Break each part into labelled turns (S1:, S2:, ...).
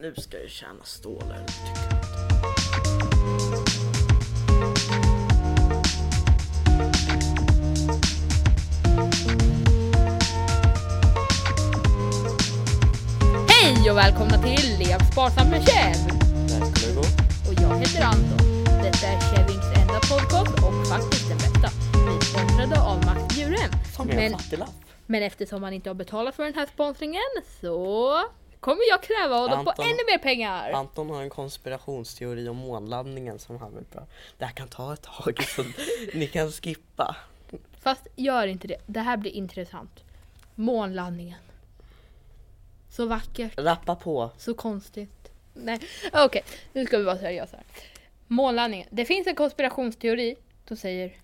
S1: nu ska jag tjäna stålar. tycker jag.
S2: Hej och välkomna till Lev sparsamt med Kjell!
S3: Där ska det gå.
S2: Och jag heter Anton. Detta är Kjellings enda podcast och faktiskt den bästa. Vi är sponsrade av Max Djurhem.
S3: Med en
S2: Men,
S3: fattiglapp.
S2: men eftersom han inte har betalat för den här sponsringen så kommer jag kräva honom på
S3: Anton-
S2: ännu mer pengar!
S3: Anton har en konspirationsteori om månlandningen som han vill prata Det här kan ta ett tag så ni kan skippa.
S2: Fast gör inte det. Det här blir intressant. Månlandningen. Så vackert.
S3: Rappa på.
S2: Så konstigt. Nej, okej. Nu ska vi vara seriösa. här. Månlandningen. Det finns en konspirationsteori som säger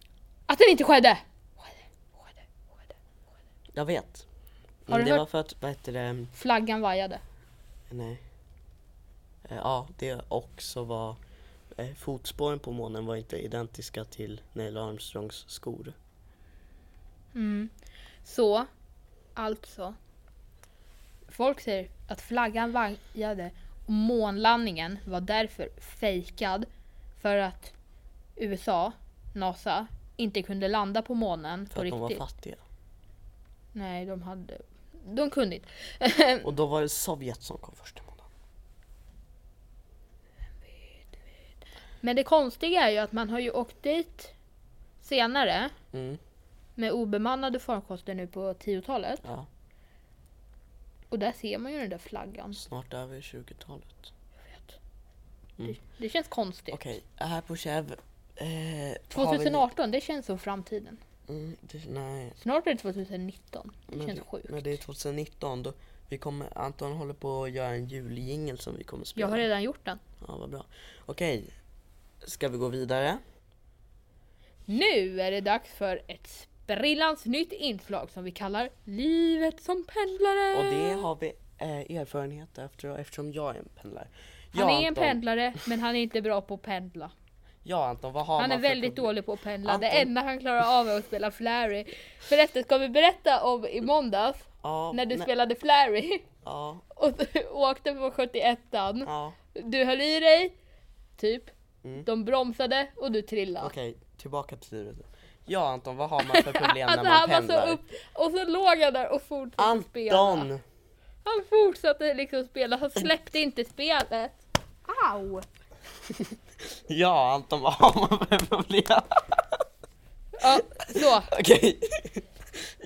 S2: att den inte skedde. Skedde, skedde, skedde.
S3: Jag vet.
S2: Har
S3: Men
S2: du
S3: det
S2: hört-
S3: var för att, vad heter det,
S2: Flaggan vajade.
S3: nej. Eh, Ja, det också var eh, Fotspåren på månen var inte identiska till Neil Armstrongs skor.
S2: Så, alltså. Folk säger att flaggan vajade och månlandningen var därför fejkad för att USA, NASA, inte kunde landa på månen
S3: För
S2: på
S3: att de var
S2: riktigt.
S3: fattiga.
S2: Nej, de hade... De kunde inte.
S3: Och då var det Sovjet som kom först till månen.
S2: Men det konstiga är ju att man har ju åkt dit senare
S3: Mm,
S2: med obemannade farkoster nu på 10-talet
S3: ja.
S2: och där ser man ju den där flaggan.
S3: Snart över 20-talet.
S2: Det känns konstigt.
S3: Mm. Okej, här på Kiev. Eh, har vi-
S2: 2018, det känns som framtiden.
S3: Mm, det, nej,
S2: Snart blir det 2019. Det
S3: Men
S2: känns
S3: det-
S2: sjukt.
S3: När det är 2019 då vi kommer, Anton håller på att göra en juljingel som vi kommer spela.
S2: Jag har redan gjort den.
S3: Ja, vad bra. Okej, ska vi gå vidare?
S2: Nu är det dags för ett sprillans nytt inslag som vi kallar Livet som pendlare.
S3: Och det har vi eh, erfarenhet efter eftersom jag är en pendlare.
S2: Han
S3: ja,
S2: är en
S3: Anton,
S2: pendlare men han är inte bra på att pendla.
S3: Ja Anton, vad har
S2: Han är
S3: man för
S2: väldigt
S3: problem?
S2: dålig på att pendla. Det
S3: Anton-
S2: enda han klarar av är att spela Flary. Förresten ska vi berätta om i måndags
S3: Ja,
S2: när du
S3: nej,
S2: spelade Flary
S3: Ja,
S2: och du åkte på 71an.
S3: ja.
S2: Du höll i dig, typ.
S3: Mm.
S2: De bromsade och du trillade.
S3: Okej, tillbaka till livet. Ja Anton, vad har man för problem när
S2: Alltså
S3: man
S2: han var så
S3: pendlar?
S2: upp och så låg han där och fortsatte spela.
S3: Anton!
S2: Han fortsatte liksom spela, han släppte inte spelet. Au!
S3: Ja Anton, vad har man för problem?
S2: Ja, så.
S3: Okej.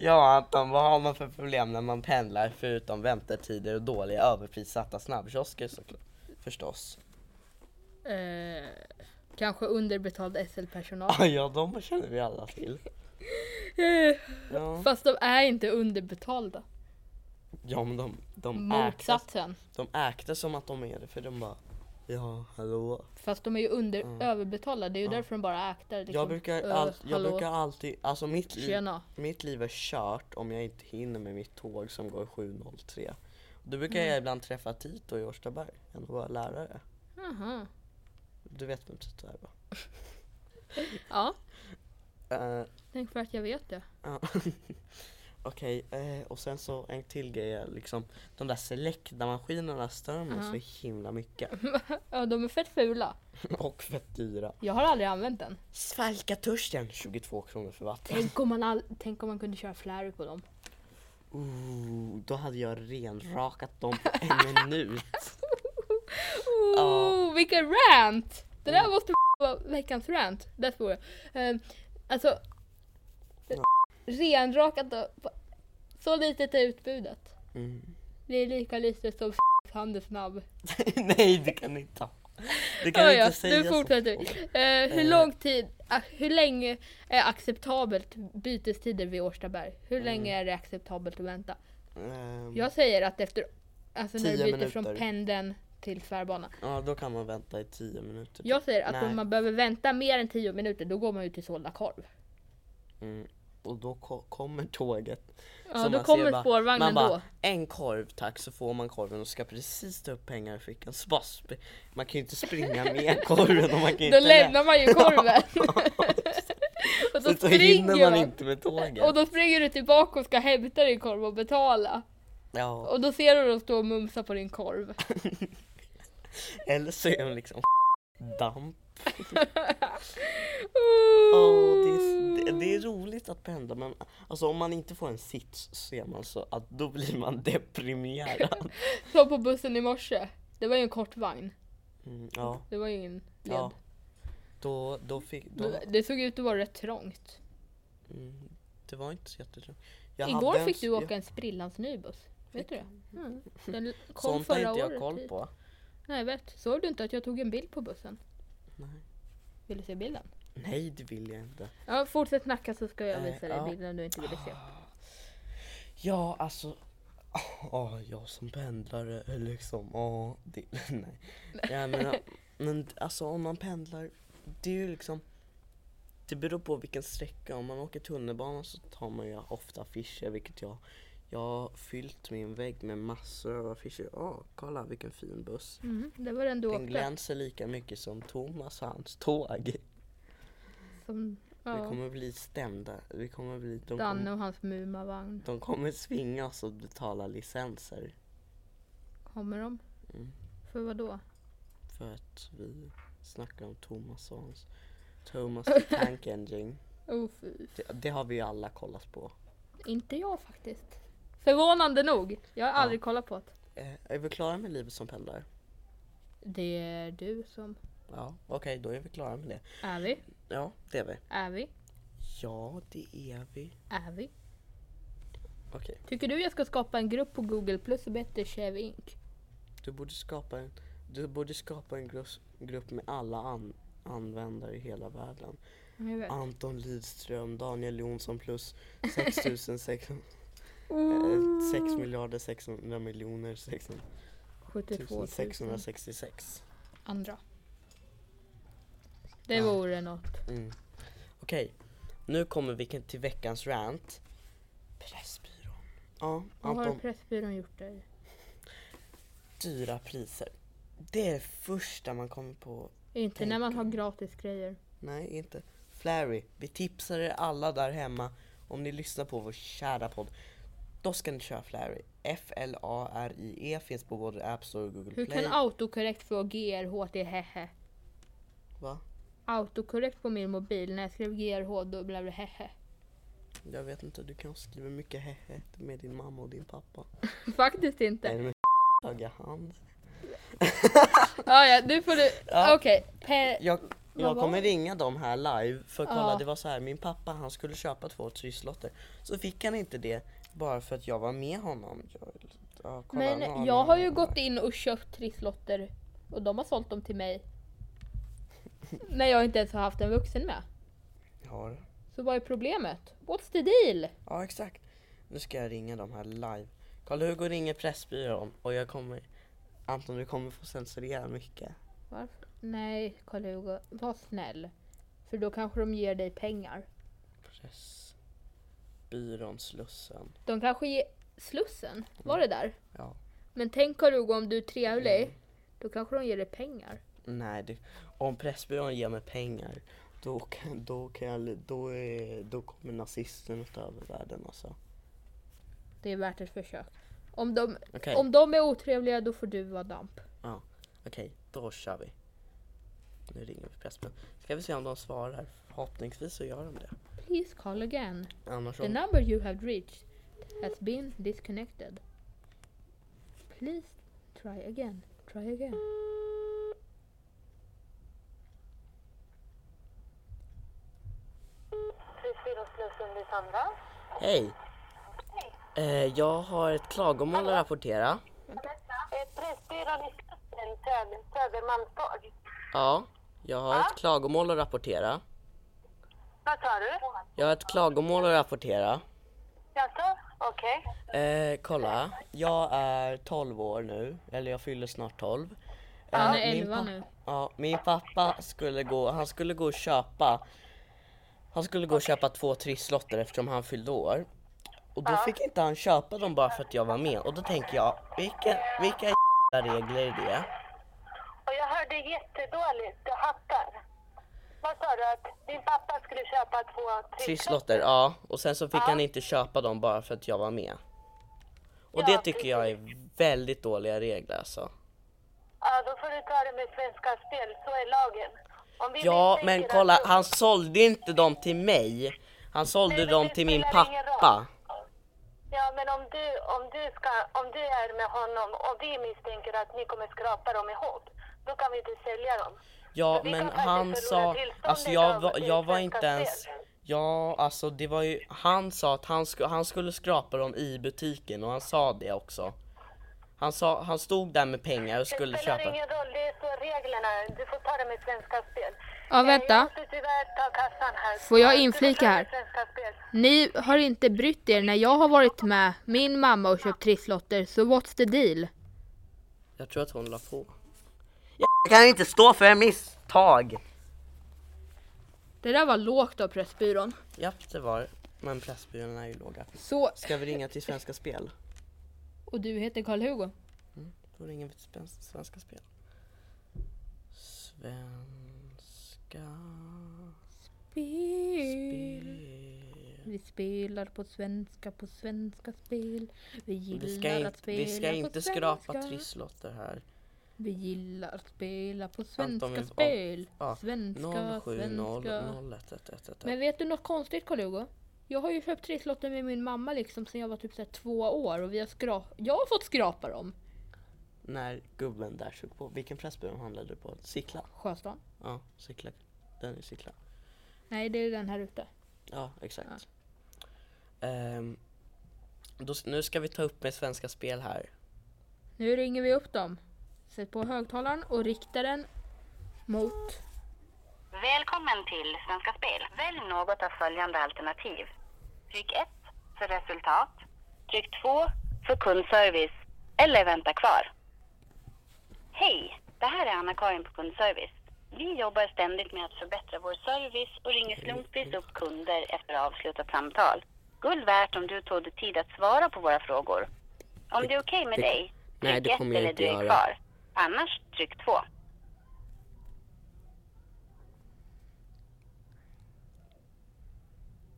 S3: Ja Anton, vad har man för problem när man pendlar förutom väntetider och dåliga överprissatta snabbkiosker såklart? Förstås.
S2: Eh, kanske underbetald SL-personal.
S3: Ah, ja, de känner vi alla till.
S2: Eh,
S3: Ja,
S2: Fast de är inte underbetalda.
S3: ja men de, de, äkte,
S2: Motsatsen.
S3: de äkte som att de är det för de bara Ja, hallå.
S2: Fast de är ju under,
S3: Mm.
S2: överbetalda, det är ju därför de bara äkter. Liksom.
S3: Jag brukar,
S2: Eh,
S3: all, jag
S2: hallå,
S3: brukar alltid, alltså mitt liv,
S2: Tjena.
S3: mitt liv är kört om jag inte hinner med mitt tåg som går 7.03. Då brukar jag ibland träffa Tito i Årstaberg, en av våra lärare.
S2: Aha.
S3: Du vet vem Tito är va?
S2: Ja,
S3: Eh,
S2: tänk för att jag vet det.
S3: Ja. Okej, eh, och sen så en till grej är liksom de där Selecta-maskinerna stör mig
S2: Ja.
S3: så himla mycket.
S2: Ja, de är fett fula.
S3: och fett dyra.
S2: Jag har aldrig använt den.
S3: Svalka törsten! 22 kronor för vatten.
S2: Tänk om man, all, tänk om man kunde köra flärry på dem.
S3: Ooh, då hade jag renrakat dem på en minut.
S2: Oh,
S3: Ja. Mm.
S2: Vilken rant! Det där måste vara veckans rant. Där står det. Ehm, alltså,
S3: Ja.
S2: renrakat och så litet är utbudet.
S3: Mm.
S2: Det är lika litet som handelsnabb.
S3: Nej, det kan ni inte ha. Det kan
S2: Ja,
S3: ni
S2: ja,
S3: inte
S2: nu
S3: säga så.
S2: fortsätter vi. Eh, hur
S3: Eh.
S2: lång tid, ah, hur länge är acceptabelt bytestider vid Årstaberg? Hur
S3: Mm.
S2: länge är det acceptabelt att vänta?
S3: Ehm,
S2: Jag säger att efter, alltså när du
S3: Tio
S2: byter
S3: minuter.
S2: från pendeln till tvärbanan.
S3: Ja, då kan man vänta i 10 minuter.
S2: Jag säger att
S3: Nej.
S2: om man behöver vänta mer än 10 minuter då går man ju till Solna korv.
S3: Mm. Och då ko- kommer tåget.
S2: Ja,
S3: Som
S2: då
S3: man
S2: kommer
S3: ser bara-
S2: spårvagnen
S3: man
S2: då.
S3: Bara, en korv tack så får man korven och ska precis ta upp pengar i fickan. Så bara sp- man kan ju inte springa med korven och man kan ju
S2: Då
S3: inte lä-
S2: lämnar man ju korven. och då
S3: så, så hinner
S2: springer
S3: man
S2: man.
S3: inte med tåget.
S2: Och då springer du tillbaka och ska hämta din korv och betala.
S3: Ja,
S2: Och då ser du dem stå och mumsa på din korv.
S3: Eller så är hon liksom damp.
S2: Åh,
S3: Oh, det, är,
S2: Mm.
S3: det, det är roligt att pendla men alltså, om man inte får en sits så är man så att då blir man deprimerad.
S2: Så på bussen i morse. Det var ju en kort vagn.
S3: Mm, ja,
S2: Det var ju ingen led.
S3: ja. Då, då fick... Då,
S2: Det- Det såg ut att vara rätt trångt.
S3: mm, det var inte så jättetråkigt. Jag hade
S2: Igår
S3: en-
S2: fick du
S3: jag-
S2: åka en sprillans ny buss. Vet du det? Mm. Den kom
S3: Sånt har
S2: förra
S3: inte jag
S2: året typ.
S3: koll
S2: hit.
S3: på.
S2: Nej, jag vet. Såg du inte att jag tog en bild på bussen?
S3: Nej.
S2: Vill du se bilden?
S3: Nej, det vill jag inte.
S2: Ja, fortsätt snacka så ska jag
S3: Nej,
S2: visa dig
S3: ja. Ah.
S2: bilden du inte ville se.
S3: Ja, alltså. Ja, jag som pendlare är liksom, ja, det, nej. Jag menar, men alltså om man pendlar, det är ju liksom, det beror på vilken sträcka. Om man åker tunnelbana så tar man ju ofta affischer, vilket jag, jag har fyllt min vägg med massor av affischer. Ja, kolla vilken fin buss.
S2: Mm, det var den du
S3: Den
S2: åkte.
S3: glänser lika mycket som Thomas och hans tåg.
S2: Som,
S3: Vi
S2: ja,
S3: kommer bli stämda. Vi kommer bli, de,
S2: Danne
S3: kommer,
S2: och hans Mumavagn.
S3: de kommer svinga oss och betala licenser.
S2: Kommer de?
S3: Mm.
S2: För vad då?
S3: För att vi snackar om Thomas och hans Thomas the Tank Engine.
S2: Oh, fy.
S3: Det, det har vi ju alla kollat på.
S2: Inte jag faktiskt. Förvånande nog. Jag har aldrig kollat på det.
S3: Eh, är vi klara med livet som pendlare?
S2: Det är du som...
S3: Ja, okej då är vi klara med det.
S2: Är vi?
S3: Ja, det är vi.
S2: Är vi?
S3: Ja, det är vi.
S2: Är vi?
S3: Okej,
S2: Tycker du jag ska skapa en grupp på Google Plus som heter Chev Inc?
S3: du borde skapa en, du borde skapa en grupp, grupp med alla an, användare i hela världen.
S2: Jag vet.
S3: Anton Lidström, Daniel Jonsson plus 6600
S2: Oh,
S3: 6 miljarder 600 miljoner 600
S2: 72 000
S3: 666.
S2: andra. Det
S3: Ja.
S2: vore något.
S3: Mm. Okej, nu kommer vi till veckans rant. Pressbyrån. Ja,
S2: Vad har
S3: Anton.
S2: Pressbyrån gjort där?
S3: Dyra priser. Det är det första man kommer på.
S2: Inte när man
S3: Tänk.
S2: har gratis grejer.
S3: Nej, inte. Flary, vi tipsar er alla där hemma om ni lyssnar på vår kära podd. Då ska ni köra Flary. F-L-A-R-I-E E finns på både App Store och Google
S2: Hur
S3: Play.
S2: kan autokorrekt få GRH till hehe?
S3: Va?
S2: Autokorrekt på min mobil, när jag skrev GRH då blev det hehe.
S3: Jag vet inte, du kanske skriver mycket hehe med din mamma och din pappa.
S2: Faktiskt
S3: Nej,
S2: inte.
S3: men höga hand.
S2: Ah, ja, nu får du...
S3: Ja.
S2: Okej. Per...
S3: Jag, jag
S2: var
S3: kommer
S2: det?
S3: ringa dem här live för kolla
S2: Ja.
S3: det var så här min pappa han skulle köpa två trisslotter så fick han inte det bara för att jag var med honom. Jag, ja, kolla, nu
S2: Men
S3: han
S2: jag
S3: med
S2: har ju
S3: honom.
S2: gått in och köpt trisslotter och de har sålt dem till mig. När jag inte ens har haft en vuxen med.
S3: Ja, det-
S2: Så vad är problemet? What's the deal?
S3: ja exakt. Nu ska jag ringa dem här live. Karl-Hugo ringer Pressbyrån och jag kommer Anton du kommer få censurera mycket.
S2: Varför? Nej, Karl-Hugo, var snäll. För då kanske de ger dig pengar.
S3: Pressbyrån Slussen.
S2: De kanske ger Slussen, var det där?
S3: Ja. Mm.
S2: Men tänk Karl-Hugo om du är trevlig, då kanske de ger dig pengar.
S3: Nej, det, om Pressbyrån ger mig pengar då, kan- då, kan jag, då, är, då kommer nazisterna ta över världen alltså.
S2: Det är värt ett försök. Om de,
S3: Okej,
S2: om de är otrevliga då får du vara damp.
S3: okej, då kör vi. Nu ringer vi Pressbyrån. Ska vi se om de svarar. Förhoppningsvis så gör de det.
S2: Please call again.
S3: Annars
S2: The
S3: om...
S2: number you have reached has been disconnected. Please try again. Try again.
S4: Frysbyråslussen vid Sandra.
S3: Hej! Eh, jag har ett klagomål att rapportera.
S4: Eh, Pressbyrån i Slussen, Söder- Södermalmstorg.
S3: Ja, jag har ett klagomål att rapportera.
S4: Vad sa du?
S3: Jag har ett klagomål att rapportera.
S4: Jaså? Okej.
S3: Eh, kolla, jag är 12 år nu, eller jag fyller snart 12. Eh,
S2: Han är
S3: min
S2: 11
S3: pappa-
S2: nu.
S3: Ja, min pappa skulle gå, han skulle gå och köpa, han skulle gå och köpa två trisslotter eftersom han fyllde år. Och då fick inte han köpa dem bara för att jag var med och då tänker jag, vilka, vilka jävla regler är det?
S4: Och jag hörde jättedåligt. Du hattar. Vad sa du? Att din pappa skulle köpa två
S3: Trisslotter, ja. Och sen så fick han inte köpa dem bara för att jag var med. Och
S4: Ja,
S3: det tycker jag är väldigt dåliga regler alltså.
S4: Ja, Ja, då får du ta det med Svenska Spel, så är lagen. Om vi
S3: Ja,
S4: misstänker
S3: men
S4: att
S3: kolla,
S4: du-
S3: han sålde inte dem till mig. Han sålde
S4: Nej, men
S3: dem
S4: det
S3: till min
S4: spelar ingen
S3: pappa.
S4: Ja, men om du, om, du ska, om du är med honom och vi misstänker att ni kommer skrapa dem ihop, då kan vi inte sälja dem.
S3: Ja,
S4: Vi
S3: men
S4: kan faktiskt
S3: han sa...
S4: förlora tillståndet
S3: Alltså jag
S4: av
S3: var, jag var
S4: Svenska
S3: inte ens...
S4: Spel.
S3: Ja, alltså det var ju... Han sa att han, sku, han skulle skrapa dem i butiken och han sa det också. Han, sa, han stod där med pengar och skulle
S4: det spelar
S3: köpa.
S4: ingen roll, det är så reglerna är. Du får ta det med Svenska Spel.
S2: Ja,
S4: Eh,
S2: vänta.
S4: Jag måste tyvärr ta kassan här.
S2: Får jag
S4: Du
S2: inflika
S4: ta
S2: här?
S4: med Svenska Spel.
S2: Ni har inte brytt er när jag har varit med min mamma och köpt trisslotter, så what's the deal?
S3: Jag tror att hon la på.
S1: Jag kan inte stå för en misstag.
S2: Det där var lågt av Pressbyrån.
S3: Japp, det var det. Men Pressbyrån är ju låga.
S2: Så,
S3: Ska vi ringa till Svenska Spel?
S2: och du heter Karl-Hugo?
S3: Då ringer vi till Sven- Svenska Spel. Svenska
S2: Spel.
S3: Spel.
S2: Vi spelar på svenska, på svenska spel. Vi gillar
S3: Vi ska,
S2: att
S3: inte,
S2: spela
S3: vi ska
S2: på
S3: inte
S2: svenska.
S3: skrapa trisslotter här.
S2: Vi gillar att spela på
S3: Vänta,
S2: svenska
S3: om vi- om-
S2: spel.
S3: ja,
S2: svenska,
S3: 070
S2: svenska.
S3: 0111.
S2: Men vet du något konstigt Karl-Hugo? Jag har ju köpt trisslotter med min mamma liksom sen jag var typ så här två år och vi har skrap... Jag har fått skrapa dem.
S3: När gubben där såg på, vilken pressbyrå handlade du på? Sickla?
S2: Sjöstan?
S3: Ja, Sickla. Den är Sickla.
S2: Nej, det är den här ute.
S3: Ja, exakt. Ehm, då, s- nu ska vi ta upp med Svenska Spel här.
S2: Nu ringer vi upp dem. Sätt på högtalaren och riktar den mot...
S5: Välkommen till Svenska Spel. Välj något av följande alternativ. Tryck 1 för resultat. Tryck 2 för kundservice. Eller vänta kvar. Hej, det här är Anna-Karin på kundservice. Vi jobbar ständigt med att förbättra vår service och ringer slumpvis upp kunder efter avslutat samtal. Guld värt om du tog dig tid att svara på våra frågor. Om det är okej med
S3: det-
S5: dig,
S3: nej,
S5: tryck
S3: det
S5: 1
S3: kommer jag
S5: eller
S3: inte
S5: du är
S3: göra.
S5: kvar. Annars, tryck 2.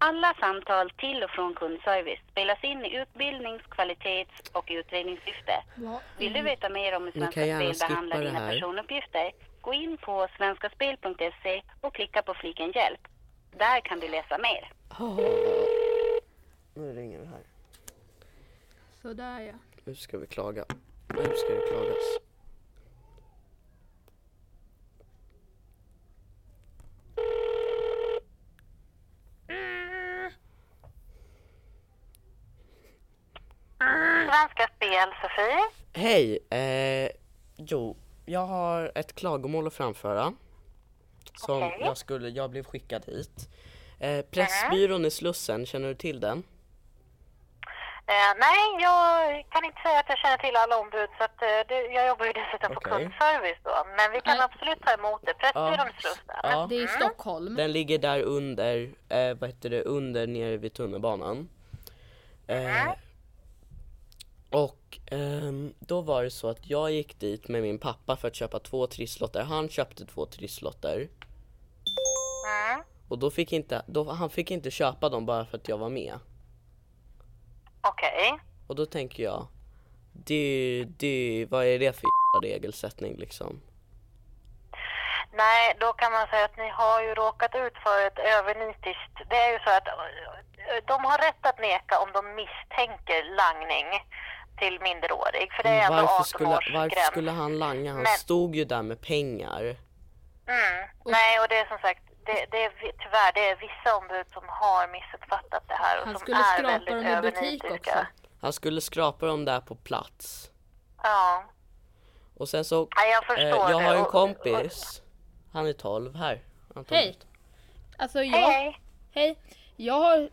S5: Alla samtal till och från kundservice spelas in i utbildnings-, kvalitets och utredningssyfte.
S2: Vad
S5: Vill du veta mer om hur
S3: Mm. Ni kan
S5: Svenska
S3: gärna
S5: Spel
S3: skippa
S5: behandlar
S3: det
S5: dina
S3: här.
S5: personuppgifter? Gå in på svenskaspel.se och klicka på fliken Hjälp. Där kan du läsa mer.
S3: Nu ringer det här.
S2: Sådär ja.
S3: Nu ska vi klaga. Nu ska det klagas.
S5: Svenska Spel, Sofie.
S3: Hej! Eh, jo, jag har ett klagomål att framföra. Som
S5: Okej.
S3: jag skulle, jag blev skickad hit. Eh, Pressbyrån i Slussen, känner du till den?
S4: Eh, nej, jag kan inte säga att jag känner till alla ombud så att, eh, det, jag jobbar ju dessutom
S3: Okej.
S4: på kundservice då. Men vi kan
S2: Nej.
S5: Mm.
S4: absolut ta emot det. Pressbyrån i Slussen.
S3: ja.
S2: Det är i Stockholm.
S3: Mm. Den ligger där under, eh, vad heter det, under nere vid tunnelbanan.
S4: Äh?
S3: Eh, och ehm, då var det så att jag gick dit med min pappa för att köpa två trisslotter. Han köpte två trisslotter.
S4: Mm.
S3: Och då fick inte, då, han fick inte köpa dem bara för att jag var med.
S4: Okej.
S3: Och då tänker jag, det, det, vad är det för jävla regelsättning liksom?
S4: Nej, då kan man säga att ni har ju råkat ut för ett övernitiskt... Det är ju så att eh, de har rätt att neka om de misstänker langning till minderårig. För det är ändå
S3: Varför
S4: 18
S3: skulle,
S4: års
S3: varför
S4: gräns.
S3: skulle han langa? Han
S4: Men-
S3: stod ju där med pengar.
S4: Mm. Nej, och det är som sagt, det, det är vi- tyvärr det är vissa ombud som har missuppfattat det här och
S2: Han
S4: som
S2: skulle
S4: är
S2: skrapa
S4: väldigt
S2: dem i butik
S4: övernitiska.
S2: också.
S3: Han skulle skrapa dem där på plats.
S4: Ja,
S3: Och sen så,
S4: Nej, jag
S3: eh,
S4: förstår
S3: jag
S4: det.
S3: har
S4: Och-
S3: en
S4: och-
S3: kompis, han är 12 här. Antonio.
S2: Hej! Alltså jag...
S4: Hej, hej.
S2: Hej! Jag har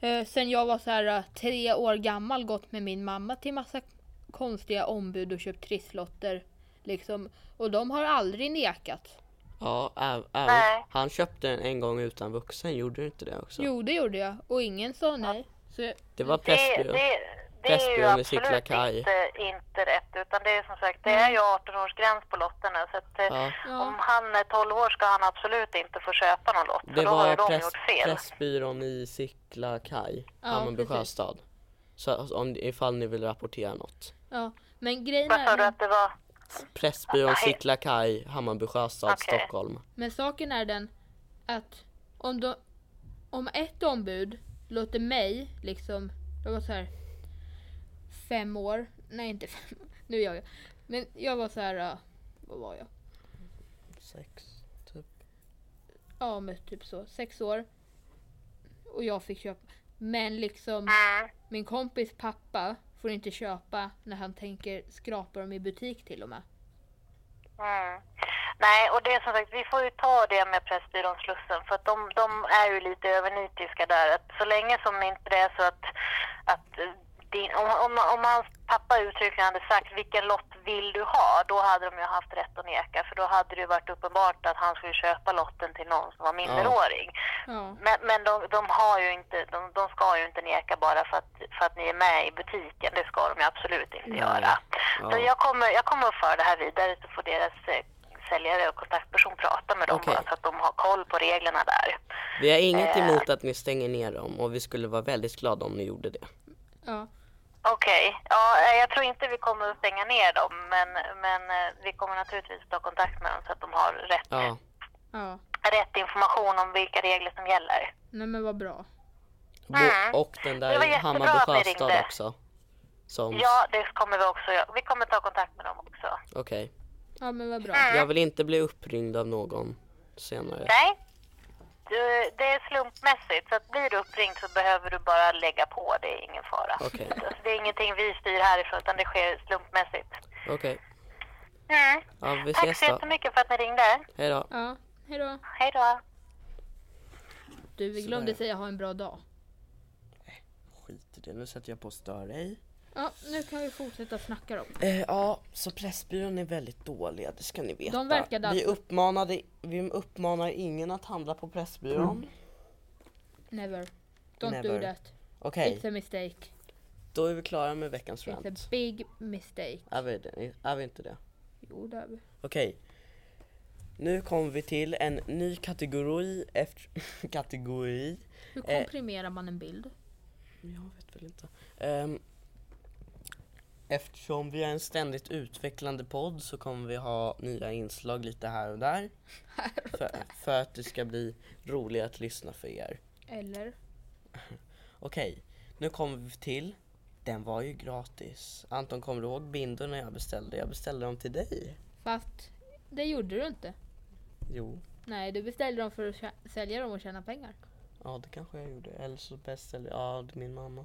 S2: eh, sen jag var så här eh, tre år gammal gått med min mamma till massa konstiga ombud och köpt trisslotter. Liksom. Och de har aldrig nekat.
S3: Ja, äv, även,
S4: Nej.
S3: han köpte den en gång utan vuxen, gjorde du inte det också?
S2: Jo, det gjorde jag. Och ingen sa nej. Så jag,
S3: Det var
S4: Det,
S3: Pressbyrån.
S4: det, det är ju
S3: Pressbyrån i Sickla
S4: absolut
S3: Kaj. Mm.
S4: inte, inte rätt utan det är som sagt, det är ju 18 års gräns på lotterna så att eh,
S3: Ja.
S2: ja.
S4: om han är 12 år ska han absolut inte få köpa någon lott
S3: Det
S4: för då har
S3: var
S4: ju de
S3: press,
S4: gjort fel.
S3: Pressbyrån i Sickla kaj,
S2: Ja,
S3: Hammarby
S2: precis.
S3: sjöstad. Så om, ifall ni vill rapportera något.
S2: ja. Men grejen
S4: Vad sa
S2: är...
S4: du att det var?
S3: 1. Pressbyrån, Sickla Kaj, Hammarby Sjöstad,
S4: Okej.
S3: Stockholm.
S2: Men saken är den att om, de, om ett ombud låter mig, liksom, jag var så här fem år, nej inte fem år, nu är jag ju- Men jag var så här, ja, vad var jag?
S3: 6, typ.
S2: Ja men typ så, sex år. Och jag fick köpa. Men liksom
S4: Mm.
S2: min kompis pappa får inte köpa när han tänker skrapa dem i butik till och med.
S4: Mm. Nej, och det är som sagt, vi får ju ta det med Pressbyrån Slussen för att de, de är ju lite övernitiska där. Att så länge som inte det är så att, att eh, din, om, om, om hans pappa uttryckligen hade sagt vilken lott vill du ha, då hade de ju haft rätt att neka för då hade det ju varit uppenbart att han skulle köpa lotten till någon som var minderårig.
S2: Ja,
S4: Men, men de, de, har ju inte, de, de ska ju inte neka bara för att, för att ni är med i butiken. Det ska de ju absolut inte göra. Så jag kommer, jag kommer att föra det här vidare så får deras eh, säljare och kontaktperson prata med dem
S3: Okej.
S4: bara så att de har koll på reglerna där.
S3: Vi har inget
S4: Eh.
S3: emot att ni stänger ner dem och vi skulle vara väldigt glada om ni gjorde det.
S2: ja.
S4: Okej, ja, eh, jag tror inte vi kommer att stänga ner dem men, men eh, vi kommer naturligtvis ta kontakt med dem så att de har rätt,
S3: Ja,
S2: ja.
S4: rätt information om vilka regler som gäller.
S2: Nej men vad bra.
S3: Bo- och den
S4: Mm. Det
S3: där
S4: var jättebra
S3: Hammarby
S4: att ni
S3: Sjöstad
S4: ringde.
S3: också. Som,
S4: Ja, det kommer vi också göra. Vi kommer ta kontakt med dem också.
S3: okej.
S2: Ja men vad bra.
S4: Mm.
S3: Jag vill inte bli uppringd av någon senare.
S4: Nej. Du, det är slumpmässigt, så att blir du uppringd så behöver du bara lägga på. Det är ingen fara.
S3: Okej.
S4: Alltså, det är ingenting vi styr härifrån, utan det sker slumpmässigt.
S3: Okej,
S4: Mm.
S3: ja, vi
S4: Tack
S3: ses
S4: så
S3: då.
S4: jättemycket för att ni ringde.
S3: Hej då.
S2: Ja, hejdå.
S4: Hej då.
S2: Du, vi
S3: Sådär,
S2: glömde
S3: ja.
S2: säga ha en bra dag.
S3: Skit i det, nu sätter jag på och stör dig.
S2: Ja, nu kan vi fortsätta snacka då.
S3: Eh, ja, så Pressbyrån är väldigt dåliga, det ska ni veta.
S2: De verkade
S3: vi,
S2: alltså-
S3: uppmanade, vi uppmanar ingen att handla på Pressbyrån.
S4: Mm.
S2: Never. Don't
S3: Never.
S2: do that.
S3: Okej,
S2: It's a mistake.
S3: då är vi klara med veckans
S2: It's a
S3: rant.
S2: big mistake.
S3: Är vi, det? är vi inte det?
S2: Jo, det är vi.
S3: Okej. Nu kommer vi till en ny kategori efter... kategori?
S2: Hur
S3: Eh.
S2: komprimerar man en bild?
S3: Jag vet väl inte. Ehm, eftersom vi är en ständigt utvecklande podd så kommer vi ha nya inslag lite här och där. För, för att det ska bli roligt att lyssna för er.
S2: Eller?
S3: Okej, nu kommer vi till den var ju gratis. Anton, kommer du ihåg bindorna jag beställde? Jag beställde dem till dig.
S2: Fast det gjorde du inte.
S3: Jo,
S2: Nej, du beställde dem för att tjä- sälja dem och tjäna pengar.
S3: ja det kanske jag gjorde. Eller så beställde jag, ja det är min mamma.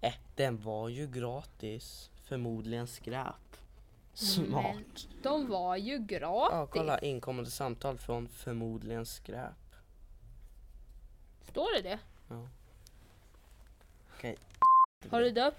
S3: Äh, den var ju gratis. Förmodligen skräp. Smart.
S2: Men de var ju
S3: Ja,
S2: gratis.
S3: kolla inkommande samtal från förmodligen skräp.
S2: Står det det?
S3: Okej.
S2: Har du döpt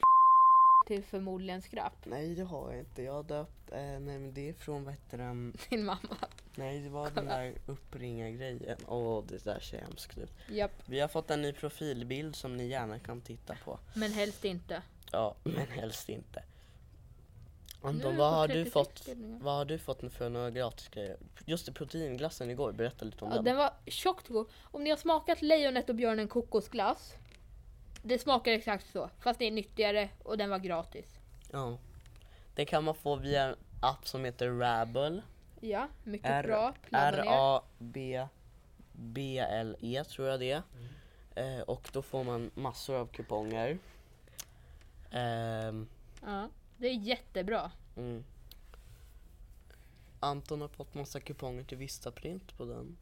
S2: till förmodligen skrapp?
S3: Nej det har jag inte. Jag har döpt, eh, nej men det är från vad heter den,
S2: Din mamma.
S3: nej det var den där uppringa-grejen. Åh det där ser hemskt ut.
S2: Japp,
S3: Vi har fått en ny profilbild som ni gärna kan titta på.
S2: men helst inte.
S3: Ja, men helst inte.
S2: Nu är
S3: Anton,
S2: vi
S3: vad
S2: på
S3: har, du
S2: 36
S3: fått,
S2: delningar.
S3: vad har du fått för några gratisgrejer? Just det, proteinglassen igår, berätta lite om
S2: Ja,
S3: den.
S2: den var tjockt god. Om ni har smakat lejonet och björnen kokosglass. Det smakar exakt så, fast det är nyttigare och den var gratis.
S3: Ja. Den kan man få via en app som heter Rabble.
S2: Ja, mycket bra.
S3: R-
S2: Ladda ner.
S3: R-A-B-B-L-E E, tror jag det är. Eh, och då får man massor av kuponger. Ehm,
S2: Ja, det är jättebra.
S3: mm. Anton har fått massa kuponger till Vistaprint på den.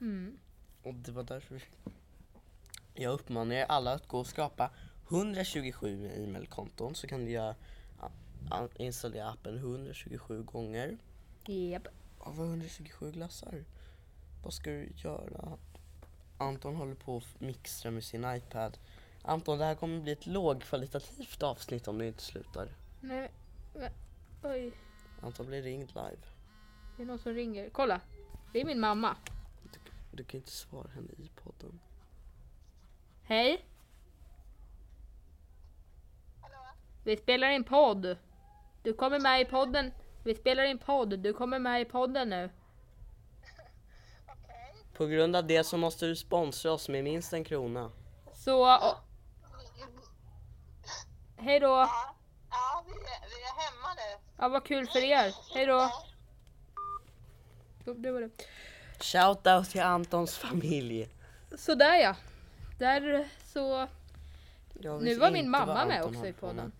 S2: Mm.
S3: Och det var därför vi- jag uppmanar er alla att gå och skapa 127 e-mailkonton så kan du göra, a- a- installera appen 127 gånger.
S2: Japp.
S3: Ja, vad 127 glassar? Vad ska du göra? Anton håller på att mixtra med sin iPad. Anton, det här kommer bli ett lågkvalitativt avsnitt om du inte slutar.
S2: Nej, men, oj.
S3: Anton blir ringd live.
S2: Det är någon som ringer. Kolla! Det är min mamma.
S3: Du, du kan inte svara henne i podden.
S2: Hej! Vi spelar in podd. Du kommer med i podden. Vi spelar in podd. Du kommer med i podden nu.
S3: På grund av det så måste du sponsra oss med minst en krona.
S2: Så... och- Hej då!
S4: Ja, vi är, vi är hemma nu.
S2: Ja, vad kul för er. Hej då. Jo, Det var det.
S3: Shoutout till Antons familj.
S2: Sådär ja. Där så...
S3: Jag
S2: Nu
S3: vet
S2: var min
S3: inte vad
S2: mamma med
S3: Anton
S2: också
S3: höll
S2: i
S3: på med.
S2: podden.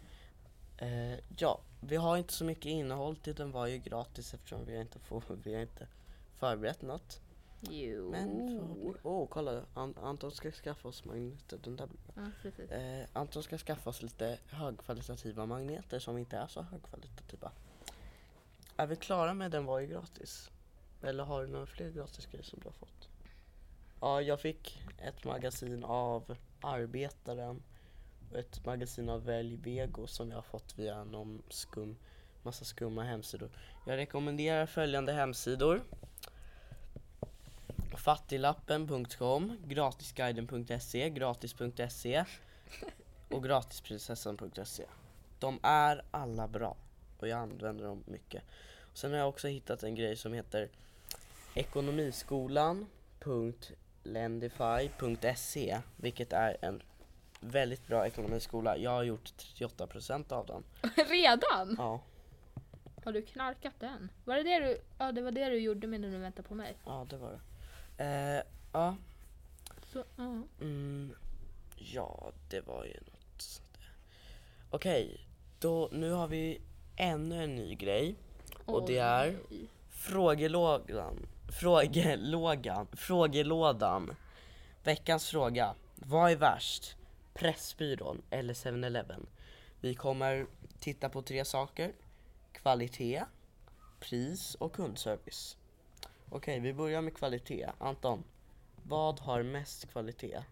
S3: Eh, ja, vi har inte så mycket innehåll till den var ju gratis eftersom vi inte, får, vi har inte förberett något.
S2: Jo.
S3: Men förhoppningsvis... Åh, kolla! An- Anton ska skaffa oss magneter. Den där...
S2: Ja, precis.
S3: eh, Anton ska skaffa oss lite högkvalitativa magneter som inte är så högkvalitativa. Är vi klara med den var ju gratis? Eller har du några fler gratisgrejer som du har fått? Ja, jag fick ett magasin av Arbetaren och ett magasin av Välj Vego som jag har fått via någon skum, massa skumma hemsidor. Jag rekommenderar följande hemsidor. Fattiglappen.com, Gratisguiden.se, Gratis.se och Gratisprinsessan.se. De är alla bra och jag använder dem mycket. Sen har jag också hittat en grej som heter ekonomiskolan.lendify.se vilket är en väldigt bra ekonomiskola. Jag har gjort 38% av den.
S2: Redan?
S3: Ja,
S2: Har du knarkat den? Var det det du... Ja, det var det du gjorde medan du väntade på mig.
S3: ja det var det. Eh, ja,
S2: Så, ja.
S3: Mm, ja, det var ju något sånt där. Okej, då nu har vi ännu en ny grej. Och det är
S2: Oj.
S3: frågelådan. Frågelågan. Frågelådan. Veckans fråga. Vad är värst? Pressbyrån eller 7-Eleven? Vi kommer titta på tre saker. Kvalitet, pris och kundservice. Okej, vi börjar med kvalitet. Anton, vad har mest kvalitet?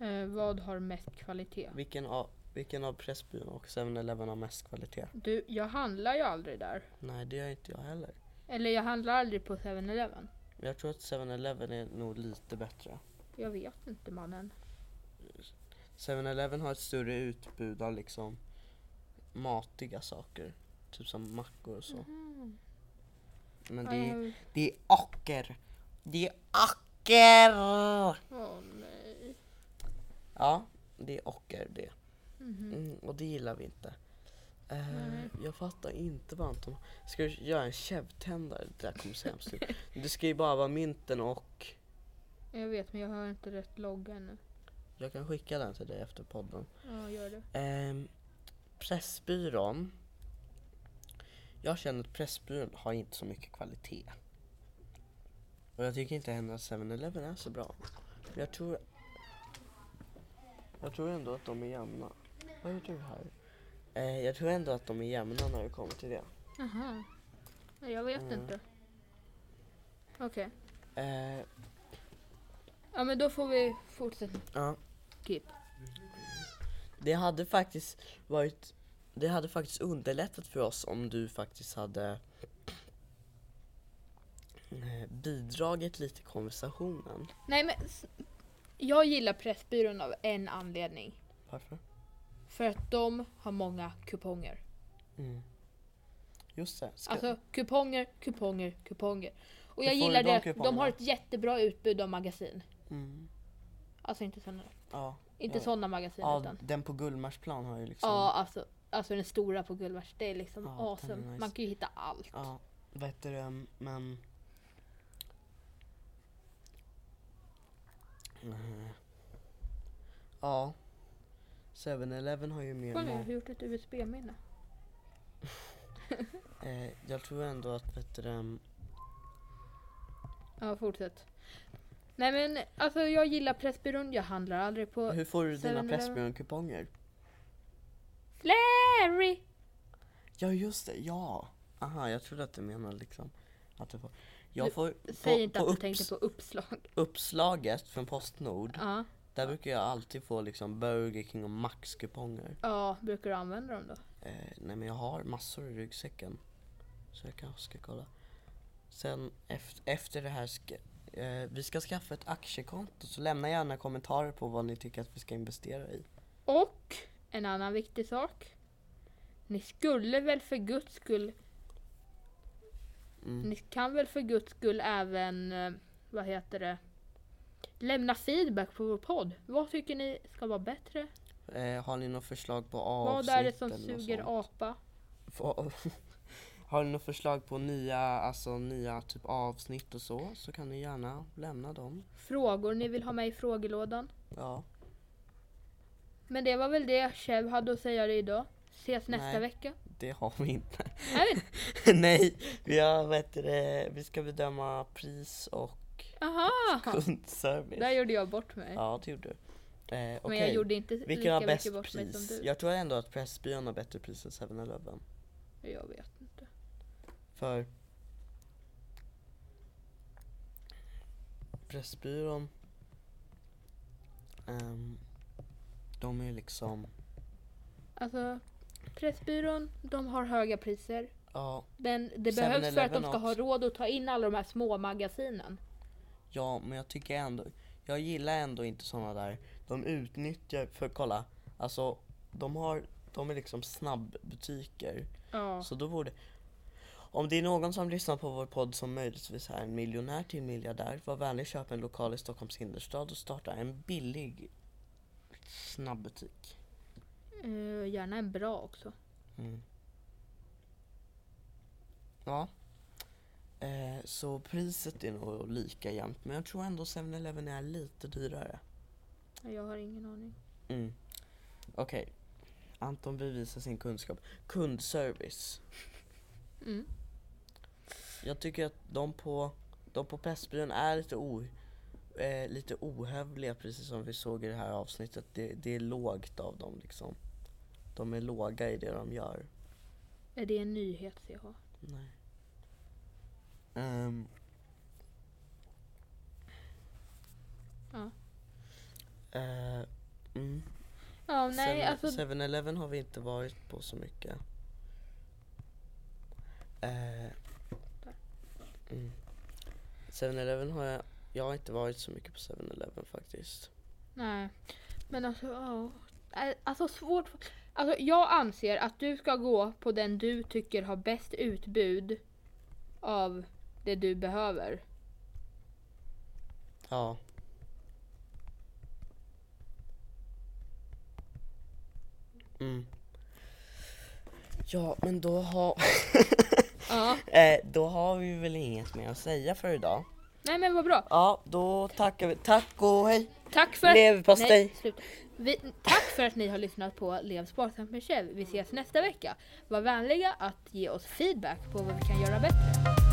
S2: Eh, vad har mest kvalitet?
S3: Vilken av, vilken av Pressbyrån och 7-Eleven har mest kvalitet?
S2: Du, jag handlar ju aldrig där.
S3: Nej, det gör inte jag heller.
S2: Eller jag handlar aldrig på 7-Eleven.
S3: Men jag tror att 7-Eleven är nog lite bättre.
S2: Jag vet inte mannen.
S3: 7-Eleven har ett större utbud av liksom matiga saker. Typ som mackor och så. Men det är,
S2: Aj.
S3: det är acker. Det är acker!
S2: Åh nej.
S3: Ja, det är ocker det.
S2: Mhm.
S3: Mm, och det gillar vi inte. Eh, jag fattar inte vad Anton... Ska du göra en käfttändare? Det där kommer se hemskt ut. Det ska ju bara vara mynten och...
S2: Jag vet men jag har inte rätt logga ännu.
S3: Jag kan skicka den till dig efter podden.
S2: Ja, gör det.
S3: Ehm, Pressbyrån. Jag känner att Pressbyrån har inte så mycket kvalitet. Och jag tycker inte heller att 7-Eleven är så bra. Men jag tror... Jag tror ändå att de är jämna. Vad gör du här? Eh, jag tror ändå att de är jämna när det kommer till det.
S2: Jaha. Nej, jag vet
S3: Mm.
S2: inte. Okej.
S3: Eh,
S2: Ja men då får vi fortsätta.
S3: ja.
S2: Typ.
S3: Det hade faktiskt varit... Det hade faktiskt underlättat för oss om du faktiskt hade eh, bidragit lite i konversationen.
S2: Nej men. s- Jag gillar Pressbyrån av en anledning.
S3: Varför?
S2: För att de har många kuponger.
S3: Just det. Ska,
S2: Alltså kuponger, kuponger, kuponger. Och jag
S3: Hur får
S2: gillar
S3: du de
S2: det att de
S3: kupongerna?
S2: har ett jättebra utbud av magasin.
S3: Mm.
S2: Alltså inte sådana,
S3: ja,
S2: inte
S3: ja.
S2: sådana magasin
S3: ja,
S2: utan.
S3: den på Gullmarsplan har ju liksom...
S2: Ja alltså, alltså den stora på Gullmars. Det är liksom
S3: Ja, den är
S2: awesome.
S3: nice.
S2: Man kan ju hitta allt.
S3: Ja, vad heter det, men... Eh, Ja. 7-Eleven har ju mer
S2: Kolla jag
S3: mat.
S2: har gjort ett USB-minne.
S3: Eh, jag tror ändå att ehm, vet du, det,
S2: Ja fortsätt. Nej men alltså jag gillar Pressbyrån. Jag handlar aldrig på
S3: Hur får du dina
S2: 7-Eleven?
S3: Pressbyrån-kuponger?
S2: Larry!
S3: Ja just det, ja! Aha, jag trodde att du menade liksom att du får...
S2: Du-
S3: Jag får
S2: Säg
S3: på,
S2: inte
S3: på
S2: att du
S3: upps-
S2: tänkte på uppslag.
S3: uppslaget från Postnord,
S2: Ja.
S3: där brukar jag alltid få liksom Burger King och Max-kuponger.
S2: ja, brukar du använda dem då?
S3: Eh, nej men jag har massor i ryggsäcken. Så jag kanske ska kolla. Sen efter, efter det här ska, eh, vi ska skaffa ett aktiekonto så lämna gärna kommentarer på vad ni tycker att vi ska investera i.
S2: Och en annan viktig sak. Ni skulle väl för guds skull...
S3: Mm.
S2: Ni kan väl för guds skull även, eh, vad heter det, lämna feedback på vår podd. Vad tycker ni ska vara bättre?
S3: Eh, har ni något förslag på avsnitt
S2: Vad är det som
S3: eller något
S2: suger
S3: sånt?
S2: apa?
S3: få- har ni något förslag på nya, alltså nya typ avsnitt och så, så kan ni gärna lämna dem.
S2: Frågor ni vill ha med i frågelådan.
S3: Ja.
S2: Men det var väl det Chev hade att säga idag. Ses nästa
S3: Nej.
S2: vecka.
S3: Det har vi inte.
S2: Är det?
S3: Nej, vi har, vad heter det, vi ska bedöma pris och
S2: Aha!
S3: kundservice.
S2: Där gjorde jag bort mig.
S3: Ja, det gjorde du. Eh,
S2: Men jag
S3: okej.
S2: gjorde inte
S3: Vilken
S2: lika
S3: har bäst
S2: mycket bort mig som
S3: pris?
S2: du.
S3: Jag tror ändå att Pressbyrån har bättre pris än 7-Eleven.
S2: Jag vet inte.
S3: För Pressbyrån ehm, De är liksom
S2: Alltså, Pressbyrån, de har höga priser.
S3: Ja,
S2: Men det behövs för att de
S3: 7-Eleven
S2: ska ha
S3: också.
S2: råd att ta in alla de här små magasinen.
S3: ja men jag tycker ändå Jag gillar ändå inte såna där De utnyttjar, för kolla Alltså de har De är liksom snabbbutiker
S2: Ja.
S3: Så då borde om det är någon som lyssnar på vår podd som möjligtvis är en miljonär till miljardär, var vänlig köp en lokal i Stockholms innerstad och starta en billig snabbutik.
S2: Eh, gärna en bra också.
S3: Ja. Eh, så priset är nog lika jämnt, men jag tror ändå 7-Eleven är lite dyrare.
S2: Jag har ingen aning.
S3: Mm. Okej. Anton bevisar sin kunskap. Kundservice.
S2: Mm.
S3: Jag tycker att de på, de på Pressbyrån är lite, o, eh, lite ohövliga precis som vi såg i det här avsnittet. Det, det är lågt av dem liksom. De är låga i det de gör.
S2: Är det en nyhet CH?
S3: Nej. Ehm.
S2: Ja.
S3: Eh, mm.
S2: Ja, nej
S3: Seven-
S2: alltså.
S3: 7-Eleven har vi inte varit på så mycket. Eh, mm. 7-Eleven har jag, jag har inte varit så mycket på 7-Eleven faktiskt.
S2: Nej. Men alltså, ja. Eh, Alltså svårt. Alltså jag anser att du ska gå på den du tycker har bäst utbud av det du behöver.
S3: Ja. Mm. Ja, men då har,
S2: Ja.
S3: eh, då har vi väl inget mer att säga för idag.
S2: Nej men vad bra.
S3: Ja, då tackar vi. Tack och hej!
S2: Tack för att...
S3: Leverpastej.
S2: Nej, sluta. Vi, tack för att ni har lyssnat på Lev sparsamt med Kjell. Vi ses nästa vecka. Var vänliga att ge oss feedback på vad vi kan göra bättre.